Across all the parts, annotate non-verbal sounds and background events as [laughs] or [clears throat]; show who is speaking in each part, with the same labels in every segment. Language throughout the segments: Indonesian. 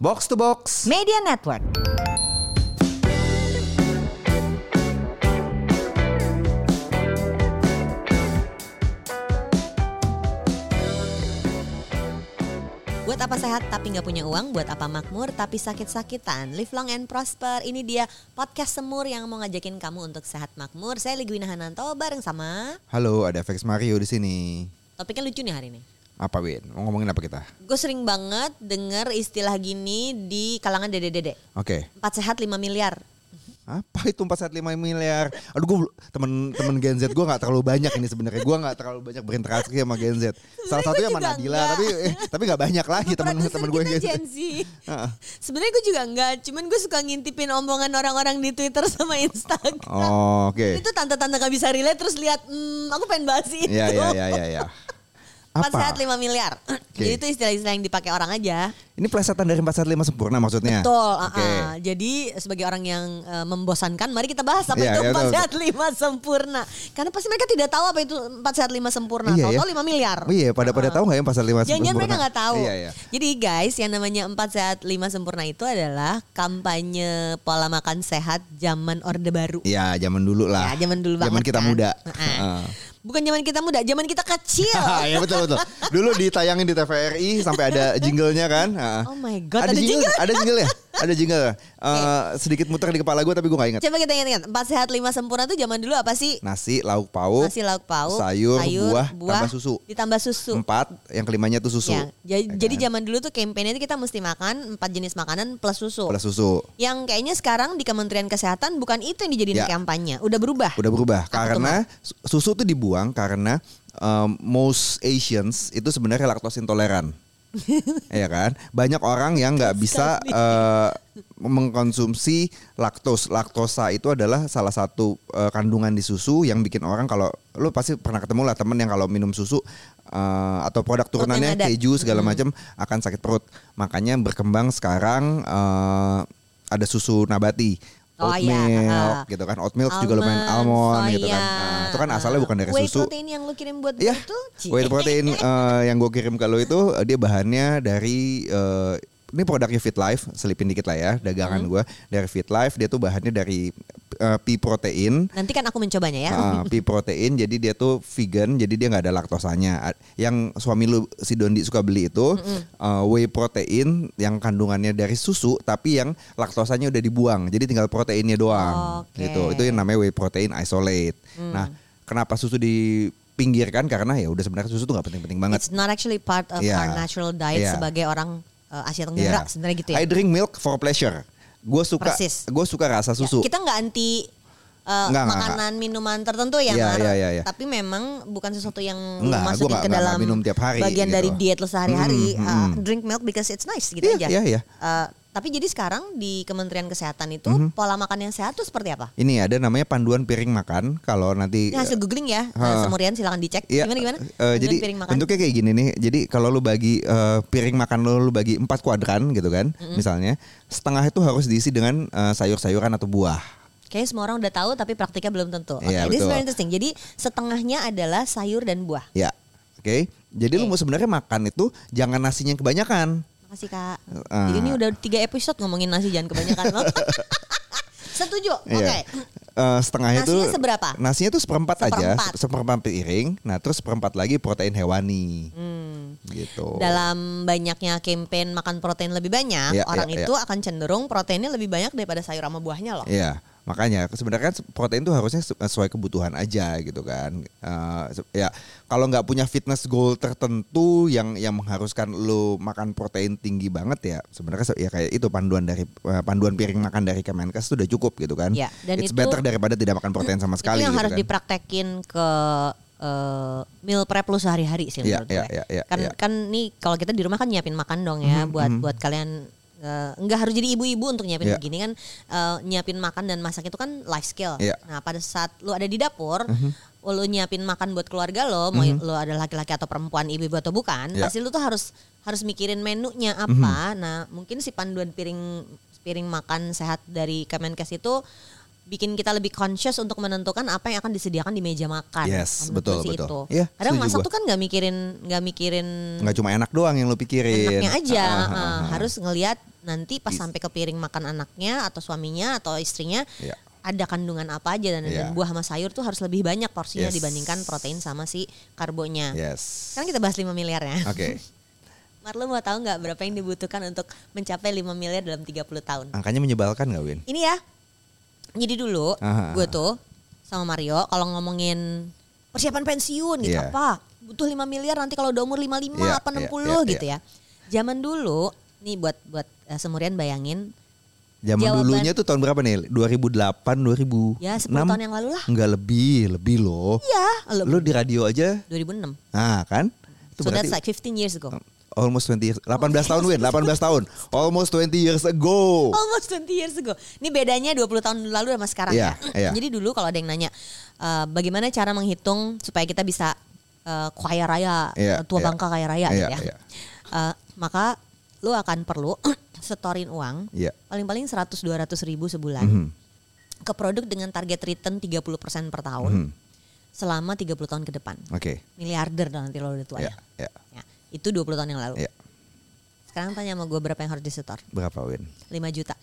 Speaker 1: Box to Box.
Speaker 2: Media Network. Buat apa sehat tapi nggak punya uang, buat apa makmur tapi sakit-sakitan. Live long and prosper. Ini dia podcast semur yang mau ngajakin kamu untuk sehat makmur. Saya Ligwina Hananto bareng sama
Speaker 1: Halo, ada Vex Mario di sini.
Speaker 2: topiknya lucu nih hari ini.
Speaker 1: Apa Win? Mau ngomongin apa kita?
Speaker 2: Gue sering banget denger istilah gini di kalangan dede-dede.
Speaker 1: Oke.
Speaker 2: Empat sehat 5 miliar.
Speaker 1: Apa itu 415 miliar? Aduh gue temen temen Gen Z gue nggak terlalu banyak ini sebenarnya. Gue nggak terlalu banyak berinteraksi sama Gen Z. Salah
Speaker 2: Sebenarnya
Speaker 1: satunya
Speaker 2: gua
Speaker 1: sama
Speaker 2: juga
Speaker 1: Nadila,
Speaker 2: enggak.
Speaker 1: tapi eh, tapi nggak banyak [laughs] lagi teman-teman gue
Speaker 2: Produser
Speaker 1: Gen Z.
Speaker 2: kita Gen Z.
Speaker 1: Heeh.
Speaker 2: Sebenarnya gue juga enggak, cuman gue suka ngintipin omongan orang-orang di Twitter sama Instagram.
Speaker 1: Oh, Oke.
Speaker 2: Itu tante-tante gak bisa relate terus lihat, hmm, aku pengen bahas itu.
Speaker 1: Ya ya ya ya ya.
Speaker 2: Empat sehat
Speaker 1: Apa?
Speaker 2: 5 miliar. Jadi itu istilah-istilah yang dipakai orang aja.
Speaker 1: Ini plesetan dari 415 sempurna maksudnya.
Speaker 2: Betul.
Speaker 1: Nah, Oke.
Speaker 2: uh-uh. Jadi sebagai orang yang uh, membosankan, mari kita bahas apa
Speaker 1: Iya,
Speaker 2: itu
Speaker 1: iya,
Speaker 2: empat
Speaker 1: betul,
Speaker 2: sehat lima sempurna. Karena pasti mereka tidak tahu apa itu empat sehat lima sempurna.
Speaker 1: Iya,
Speaker 2: Tahu-tahu
Speaker 1: ya.
Speaker 2: lima miliar. Ah,
Speaker 1: Iya, pada pada tahu nggak ya 415
Speaker 2: Jangan-jangan mereka
Speaker 1: sempurna?
Speaker 2: nggak tahu.
Speaker 1: Iya iya.
Speaker 2: Jadi guys, yang namanya empat sehat lima sempurna itu adalah kampanye pola makan sehat zaman orde baru.
Speaker 1: Iya, zaman dulu lah.
Speaker 2: Ya, zaman dulu banget.
Speaker 1: Zaman kita
Speaker 2: kan.
Speaker 1: muda.
Speaker 2: Heeh.
Speaker 1: Heeh.
Speaker 2: Bukan zaman kita muda, zaman kita kecil.
Speaker 1: [laughs] ya betul betul. Dulu ditayangin di TVRI sampai ada jinglenya kan. Heeh.
Speaker 2: Oh my God, ada jingle?
Speaker 1: Ada jingle ya? Ada
Speaker 2: [laughs]
Speaker 1: jingle. Eh, sedikit muter di kepala gue tapi gue gak inget.
Speaker 2: Coba kita ingat-ingat, empat sehat lima sempurna itu zaman dulu apa sih?
Speaker 1: Nasi, lauk pauk,
Speaker 2: Nasi lauk pauk,
Speaker 1: sayur, buah, tambah susu.
Speaker 2: ditambah susu.
Speaker 1: Empat, yang kelimanya tuh susu.
Speaker 2: Ya,
Speaker 1: Ya
Speaker 2: jadi, jadi
Speaker 1: kan?
Speaker 2: zaman dulu tuh kampanye itu kita mesti makan empat jenis makanan plus susu.
Speaker 1: Plus susu.
Speaker 2: Yang kayaknya sekarang di Kementerian Kesehatan bukan itu yang dijadiin
Speaker 1: Ya.
Speaker 2: kampanye, udah berubah.
Speaker 1: Udah berubah
Speaker 2: Apa tuh,
Speaker 1: karena su- susu tuh dibuang karena um, most Asians itu sebenarnya laktos intoleran.
Speaker 2: [laughs]
Speaker 1: Iya kan? Banyak orang yang nggak bisa eh, mengkonsumsi laktos. Laktosa itu adalah salah satu eh, kandungan di susu yang bikin orang kalau lu pasti pernah ketemu lah temen yang kalau minum susu eh, atau produk
Speaker 2: Perut yang
Speaker 1: turunannya
Speaker 2: padat.
Speaker 1: keju segala
Speaker 2: Hmm.
Speaker 1: macam akan sakit perut. Makanya berkembang sekarang eh, ada susu nabati.
Speaker 2: Oh,
Speaker 1: oat
Speaker 2: iya,
Speaker 1: milk
Speaker 2: ha.
Speaker 1: gitu kan. Oat milk juga lumayan almond gitu kan. Nah, itu kan asalnya bukan dari
Speaker 2: Whey
Speaker 1: susu.
Speaker 2: protein yang lu kirim buat
Speaker 1: Iya.
Speaker 2: gue tuh. Ci.
Speaker 1: Whey
Speaker 2: [laughs]
Speaker 1: protein eh, yang gue kirim ke lo itu eh, dia bahannya dari eh, ini produknya Fit Life, selipin dikit lah ya dagangan
Speaker 2: Hmm.
Speaker 1: gua dari Fit Life dia tuh bahannya dari eh, pea protein.
Speaker 2: Nanti kan aku mencobanya ya.
Speaker 1: eh, pea protein jadi dia tuh vegan jadi dia nggak ada laktosanya. A- Yang suami lu si Dondi suka beli itu eh, whey protein yang kandungannya dari susu tapi yang laktosanya udah dibuang. Jadi tinggal proteinnya doang
Speaker 2: Oke. Hmm.
Speaker 1: gitu. Itu yang namanya whey protein isolate. Nah, kenapa susu dipinggirkan? Karena ya udah sebenarnya susu tuh nggak penting-penting banget.
Speaker 2: It's not actually part of
Speaker 1: Iya.
Speaker 2: our natural diet
Speaker 1: Iya.
Speaker 2: sebagai orang uh, Asia
Speaker 1: Iya.
Speaker 2: Tenggara sebenarnya gitu ya.
Speaker 1: I drink milk for pleasure. Gue suka
Speaker 2: Persis.
Speaker 1: gue suka rasa
Speaker 2: Ya,
Speaker 1: susu.
Speaker 2: Kita nggak anti
Speaker 1: Nggak,
Speaker 2: uh,
Speaker 1: nggak,
Speaker 2: makanan minuman tertentu ya,
Speaker 1: Iya,
Speaker 2: Mar.
Speaker 1: iya, iya, iya.
Speaker 2: tapi memang bukan sesuatu yang lu
Speaker 1: Nggak, gua
Speaker 2: masukin
Speaker 1: nggak-
Speaker 2: ke
Speaker 1: nggak-
Speaker 2: dalam
Speaker 1: nggak minum tiap hari
Speaker 2: bagian
Speaker 1: gitu.
Speaker 2: dari diet lo sehari-hari.
Speaker 1: Mm, mm,
Speaker 2: Uh,
Speaker 1: mm.
Speaker 2: drink milk because it's nice gitu
Speaker 1: Iya,
Speaker 2: aja.
Speaker 1: iya, iya.
Speaker 2: Uh, tapi jadi sekarang di Kementerian Kesehatan itu
Speaker 1: Mm-hmm.
Speaker 2: pola makan yang sehat itu seperti apa?
Speaker 1: Ini ada namanya panduan piring makan. Kalau nanti
Speaker 2: Ini hasil googling ya,
Speaker 1: Iya. Ha.
Speaker 2: semurian silakan dicek.
Speaker 1: Iya,
Speaker 2: Gimana gimana?
Speaker 1: eh,
Speaker 2: Panduan
Speaker 1: jadi
Speaker 2: piring makan.
Speaker 1: bentuknya kayak gini nih. Jadi kalau lu bagi eh, piring makan lu, lu bagi empat kuadran gitu kan, misalnya setengah itu harus diisi dengan eh, sayur-sayuran atau buah.
Speaker 2: Kayaknya semua orang udah tahu tapi praktiknya belum tentu. Oke,
Speaker 1: Iya,
Speaker 2: this is
Speaker 1: betul.
Speaker 2: very interesting. Jadi setengahnya adalah sayur dan buah.
Speaker 1: Ya, oke. Jadi lu mau sebenarnya makan itu jangan nasinya yang kebanyakan.
Speaker 2: Makasih kak.
Speaker 1: Ah.
Speaker 2: Jadi ini udah tiga episode ngomongin nasi jangan
Speaker 1: [laughs]
Speaker 2: kebanyakan loh. Setuju. Oke.
Speaker 1: Iya. Eh, setengahnya itu
Speaker 2: Nasinya seberapa?
Speaker 1: Nasinya itu seperempat, aja,
Speaker 2: Seperempat.
Speaker 1: se- seperempat piring. Nah, terus seperempat lagi protein hewani. Gitu.
Speaker 2: Oh. Dalam banyaknya campaign makan protein lebih banyak,
Speaker 1: Iya,
Speaker 2: orang
Speaker 1: iya,
Speaker 2: itu akan cenderung proteinnya lebih banyak daripada sayur sama buahnya loh.
Speaker 1: Iya, makanya sebenarnya kan protein itu harusnya sesuai kebutuhan aja gitu kan. Eh, se- ya, kalau nggak punya fitness goal tertentu yang yang mengharuskan lo makan protein tinggi banget ya, sebenarnya se- ya kayak itu panduan dari eh, panduan piring makan dari Kemenkes itu udah cukup gitu kan.
Speaker 2: Iya, dan
Speaker 1: It's
Speaker 2: itu-
Speaker 1: better daripada tidak makan protein sama sekali
Speaker 2: [clears throat] itu yang
Speaker 1: gitu
Speaker 2: harus
Speaker 1: kan.
Speaker 2: dipraktekin ke eh, meal prep lu sehari-hari sih
Speaker 1: Iya,
Speaker 2: menurut
Speaker 1: iya,
Speaker 2: gue.
Speaker 1: iya, iya,
Speaker 2: kan
Speaker 1: iya. Mm-hmm,
Speaker 2: kan nih kalau kita di rumah kan nyiapin makan dong ya buat buat kalian eh, nggak harus jadi ibu-ibu untuk nyiapin
Speaker 1: Iya.
Speaker 2: begini kan eh, nyiapin makan dan masak itu kan life skill.
Speaker 1: Iya. Mm-hmm.
Speaker 2: Nah, pada saat lu ada di dapur lu nyiapin makan buat keluarga lo, mau lu ada laki-laki atau perempuan, ibu-ibu atau bukan,
Speaker 1: Iya.
Speaker 2: pasti lu tuh harus harus mikirin menunya
Speaker 1: Mhm.
Speaker 2: apa. Nah, mungkin si panduan piring piring makan sehat dari Kemenkes itu bikin kita lebih conscious untuk menentukan apa yang akan disediakan di meja makan.
Speaker 1: Yes,
Speaker 2: Menurut
Speaker 1: betul,
Speaker 2: gue sih
Speaker 1: betul.
Speaker 2: Itu.
Speaker 1: Iya,
Speaker 2: Kadang
Speaker 1: setuju
Speaker 2: masak
Speaker 1: gue.
Speaker 2: tuh kan nggak mikirin nggak mikirin
Speaker 1: nggak cuma enak doang yang lu pikirin
Speaker 2: anaknya aja,
Speaker 1: Ah, ah, ah,
Speaker 2: eh,
Speaker 1: ah.
Speaker 2: harus ngelihat nanti pas
Speaker 1: Is-
Speaker 2: sampai ke piring makan anaknya atau suaminya atau istrinya
Speaker 1: Iya.
Speaker 2: ada kandungan apa aja dan,
Speaker 1: Iya.
Speaker 2: dan buah sama sayur tuh harus lebih banyak porsinya
Speaker 1: Yes.
Speaker 2: dibandingkan protein sama si karbonya.
Speaker 1: yes
Speaker 2: Sekarang kita bahas 5 miliar ya.
Speaker 1: oke
Speaker 2: Marlo mau tahu nggak berapa yang dibutuhkan untuk mencapai 5 miliar dalam 30 tahun?
Speaker 1: angkanya menyebalkan nggak Win
Speaker 2: Ini ya. Jadi dulu
Speaker 1: Aha.
Speaker 2: gue tuh sama Mario kalau ngomongin persiapan pensiun gitu
Speaker 1: Iya.
Speaker 2: apa? Butuh 5 miliar nanti kalau udah umur 55
Speaker 1: Iya,
Speaker 2: apa
Speaker 1: iya,
Speaker 2: 60
Speaker 1: iya,
Speaker 2: gitu ya. Zaman dulu nih buat buat eh, semurian bayangin
Speaker 1: zaman
Speaker 2: Jawaban-
Speaker 1: dulunya tuh tahun berapa nih 2008 2006
Speaker 2: ya 10 tahun yang lalu lah.
Speaker 1: nggak lebih lebih loh
Speaker 2: Iya,
Speaker 1: lu di radio aja
Speaker 2: 2006.
Speaker 1: nah kan itu
Speaker 2: So
Speaker 1: berarti
Speaker 2: that's like 15 years ago.
Speaker 1: almost 20 years 18 tahun Win 18 tahun almost 20 years ago
Speaker 2: Almost 20 years ago. Ini bedanya 20 tahun lalu sama sekarang
Speaker 1: Iya,
Speaker 2: ya.
Speaker 1: iya.
Speaker 2: Jadi dulu kalau ada yang nanya eh, bagaimana cara menghitung supaya kita bisa eh, kaya raya,
Speaker 1: Iya,
Speaker 2: eh, tua
Speaker 1: iya.
Speaker 2: bangka kaya raya
Speaker 1: Iya,
Speaker 2: gitu ya.
Speaker 1: iya.
Speaker 2: Eh, maka lu akan perlu [clears throat] setorin uang
Speaker 1: Iya.
Speaker 2: paling-paling 100 200 ribu sebulan
Speaker 1: Mhm,
Speaker 2: ke produk dengan target return 30% per tahun
Speaker 1: mhm.
Speaker 2: selama 30 tahun ke depan.
Speaker 1: oke
Speaker 2: Miliarder dong nanti lo udah tua
Speaker 1: ya
Speaker 2: ya.
Speaker 1: ya
Speaker 2: Ya, Itu 20 tahun yang lalu.
Speaker 1: ya
Speaker 2: Sekarang tanya sama gue berapa yang harus disetor?
Speaker 1: berapa Win
Speaker 2: 5 juta.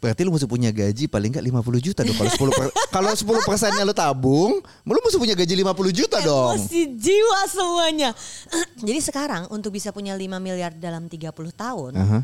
Speaker 1: Berarti lu mesti punya gaji paling enggak 50 juta dong kalau 10
Speaker 2: [laughs]
Speaker 1: per- kalau 10 persennya lu tabung, lu mesti punya gaji 50 juta
Speaker 2: Eh,
Speaker 1: dong.
Speaker 2: Emosi jiwa semuanya. [clears throat] Jadi sekarang untuk bisa punya 5 miliar dalam 30 tahun.
Speaker 1: Aha.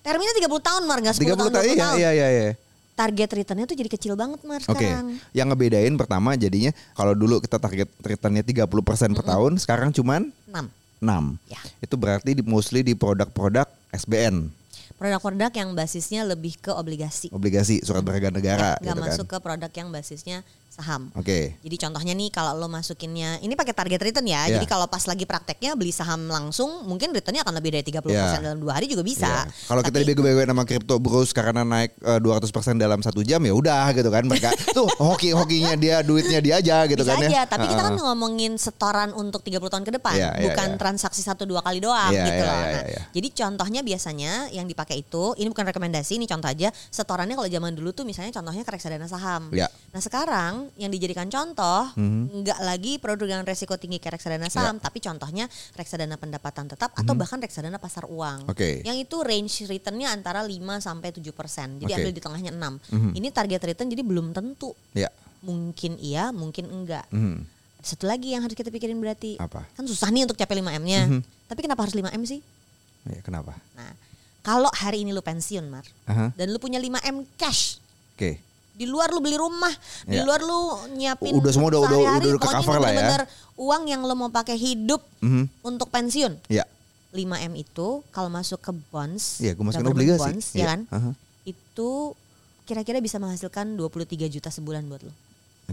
Speaker 2: Terminnya 30 tahun Mar, nggak
Speaker 1: 30
Speaker 2: 10 tahun,
Speaker 1: tahun
Speaker 2: 20
Speaker 1: iya
Speaker 2: tahun.
Speaker 1: iya iya iya.
Speaker 2: Target returnnya tuh jadi kecil banget Mar
Speaker 1: Oke.
Speaker 2: sekarang.
Speaker 1: Yang ngebedain pertama jadinya kalau dulu kita target returnnya 30% per tahun, sekarang cuman
Speaker 2: 6.
Speaker 1: 6.
Speaker 2: Ya.
Speaker 1: Itu berarti di, mostly di produk-produk SBN,
Speaker 2: Produk-produk yang basisnya lebih ke obligasi.
Speaker 1: obligasi surat berharga negara
Speaker 2: nggak
Speaker 1: gitu
Speaker 2: masuk
Speaker 1: kan.
Speaker 2: ke produk yang basisnya saham.
Speaker 1: Oke.
Speaker 2: Jadi contohnya nih kalau lo masukinnya ini pakai target return ya.
Speaker 1: Iya.
Speaker 2: Jadi kalau pas lagi prakteknya beli saham langsung mungkin returnnya akan lebih dari 30%
Speaker 1: Iya.
Speaker 2: dalam dua hari juga bisa.
Speaker 1: Iya. Kalau kita
Speaker 2: Tapi-
Speaker 1: dibego-begoin sama crypto bros karena naik eh, 200% dalam satu jam ya udah gitu kan
Speaker 2: [laughs]
Speaker 1: mereka tuh hoki-hokinya dia duitnya dia aja gitu
Speaker 2: Bisa
Speaker 1: kan ya.
Speaker 2: aja, tapi kita
Speaker 1: Heeh.
Speaker 2: kan ngomongin setoran untuk 30 tahun ke depan,
Speaker 1: Iya, iya,
Speaker 2: bukan
Speaker 1: iya.
Speaker 2: transaksi satu dua kali doang
Speaker 1: Iya,
Speaker 2: gitu
Speaker 1: iya,
Speaker 2: loh.
Speaker 1: iya,
Speaker 2: Nah,
Speaker 1: iya.
Speaker 2: Jadi contohnya biasanya yang dipakai itu, ini bukan rekomendasi, ini contoh aja. Setorannya kalau zaman dulu tuh misalnya contohnya ke reksadana saham.
Speaker 1: Iya. Mhm.
Speaker 2: Nah sekarang yang dijadikan contoh nggak lagi produk dengan resiko tinggi ke
Speaker 1: Iya.
Speaker 2: reksadana saham, tapi contohnya reksadana pendapatan tetap atau bahkan reksadana pasar uang.
Speaker 1: Mhm. Oke.
Speaker 2: Yang itu range returnnya antara 5 sampai 7 persen.
Speaker 1: Oke.
Speaker 2: Jadi
Speaker 1: Mhm.
Speaker 2: ambil di tengahnya 6 Ini target return jadi belum tentu.
Speaker 1: Iya.
Speaker 2: Mungkin iya, mungkin enggak.
Speaker 1: Hmm.
Speaker 2: Satu lagi yang harus kita pikirin berarti
Speaker 1: Apa? Mhm.
Speaker 2: Kan susah nih untuk capai 5M-nya Tapi kenapa harus 5M sih?
Speaker 1: Ya, kenapa?
Speaker 2: Nah kalau hari ini lu pensiun Mar
Speaker 1: Aha.
Speaker 2: Dan lu punya 5M cash
Speaker 1: Oke.
Speaker 2: Di luar lu beli rumah Di
Speaker 1: Ya.
Speaker 2: luar lu nyiapin
Speaker 1: Udah semua udah- udah-
Speaker 2: sehari-hari,
Speaker 1: udah- udah
Speaker 2: pokoknya
Speaker 1: ke-cover lah ya.
Speaker 2: bener-bener Uang yang lu mau pakai hidup
Speaker 1: Mhm.
Speaker 2: untuk pensiun
Speaker 1: Iya.
Speaker 2: 5M itu kalau masuk ke bonds
Speaker 1: Iya, gue masukin
Speaker 2: government
Speaker 1: obligasi.
Speaker 2: bonds, ya
Speaker 1: Iya.
Speaker 2: kan?
Speaker 1: Aha.
Speaker 2: Itu kira-kira bisa menghasilkan 23 juta sebulan buat lu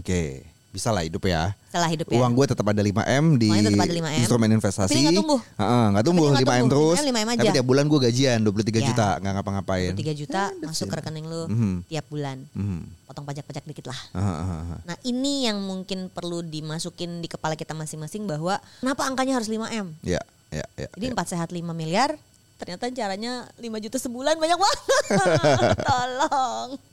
Speaker 1: Oke. Bisa lah hidup ya.
Speaker 2: Setelah hidup ya
Speaker 1: Uang gue tetap ada 5M di
Speaker 2: Uangnya tetap ada 5M.
Speaker 1: instrumen investasi.
Speaker 2: Tapi dia nggak tumbuh.
Speaker 1: Heeh, nggak
Speaker 2: Tapi
Speaker 1: tumbuh
Speaker 2: dia nggak
Speaker 1: 5M
Speaker 2: tumbuh.
Speaker 1: terus.
Speaker 2: 5M aja.
Speaker 1: Tapi tiap bulan gue gajian 23
Speaker 2: Ya.
Speaker 1: juta, nggak ngapa-ngapain.
Speaker 2: 3 juta masuk ke rekening lu
Speaker 1: Eh, Mhm.
Speaker 2: tiap bulan.
Speaker 1: Mhm.
Speaker 2: Potong pajak-pajak dikit lah.
Speaker 1: Aha, aha, aha.
Speaker 2: Nah ini yang mungkin perlu dimasukin di kepala kita masing-masing bahwa kenapa angkanya harus 5M?
Speaker 1: Ya, ya, ya.
Speaker 2: Jadi
Speaker 1: ya.
Speaker 2: empat sehat 5 miliar, ternyata caranya 5 juta sebulan banyak banget. Tolong.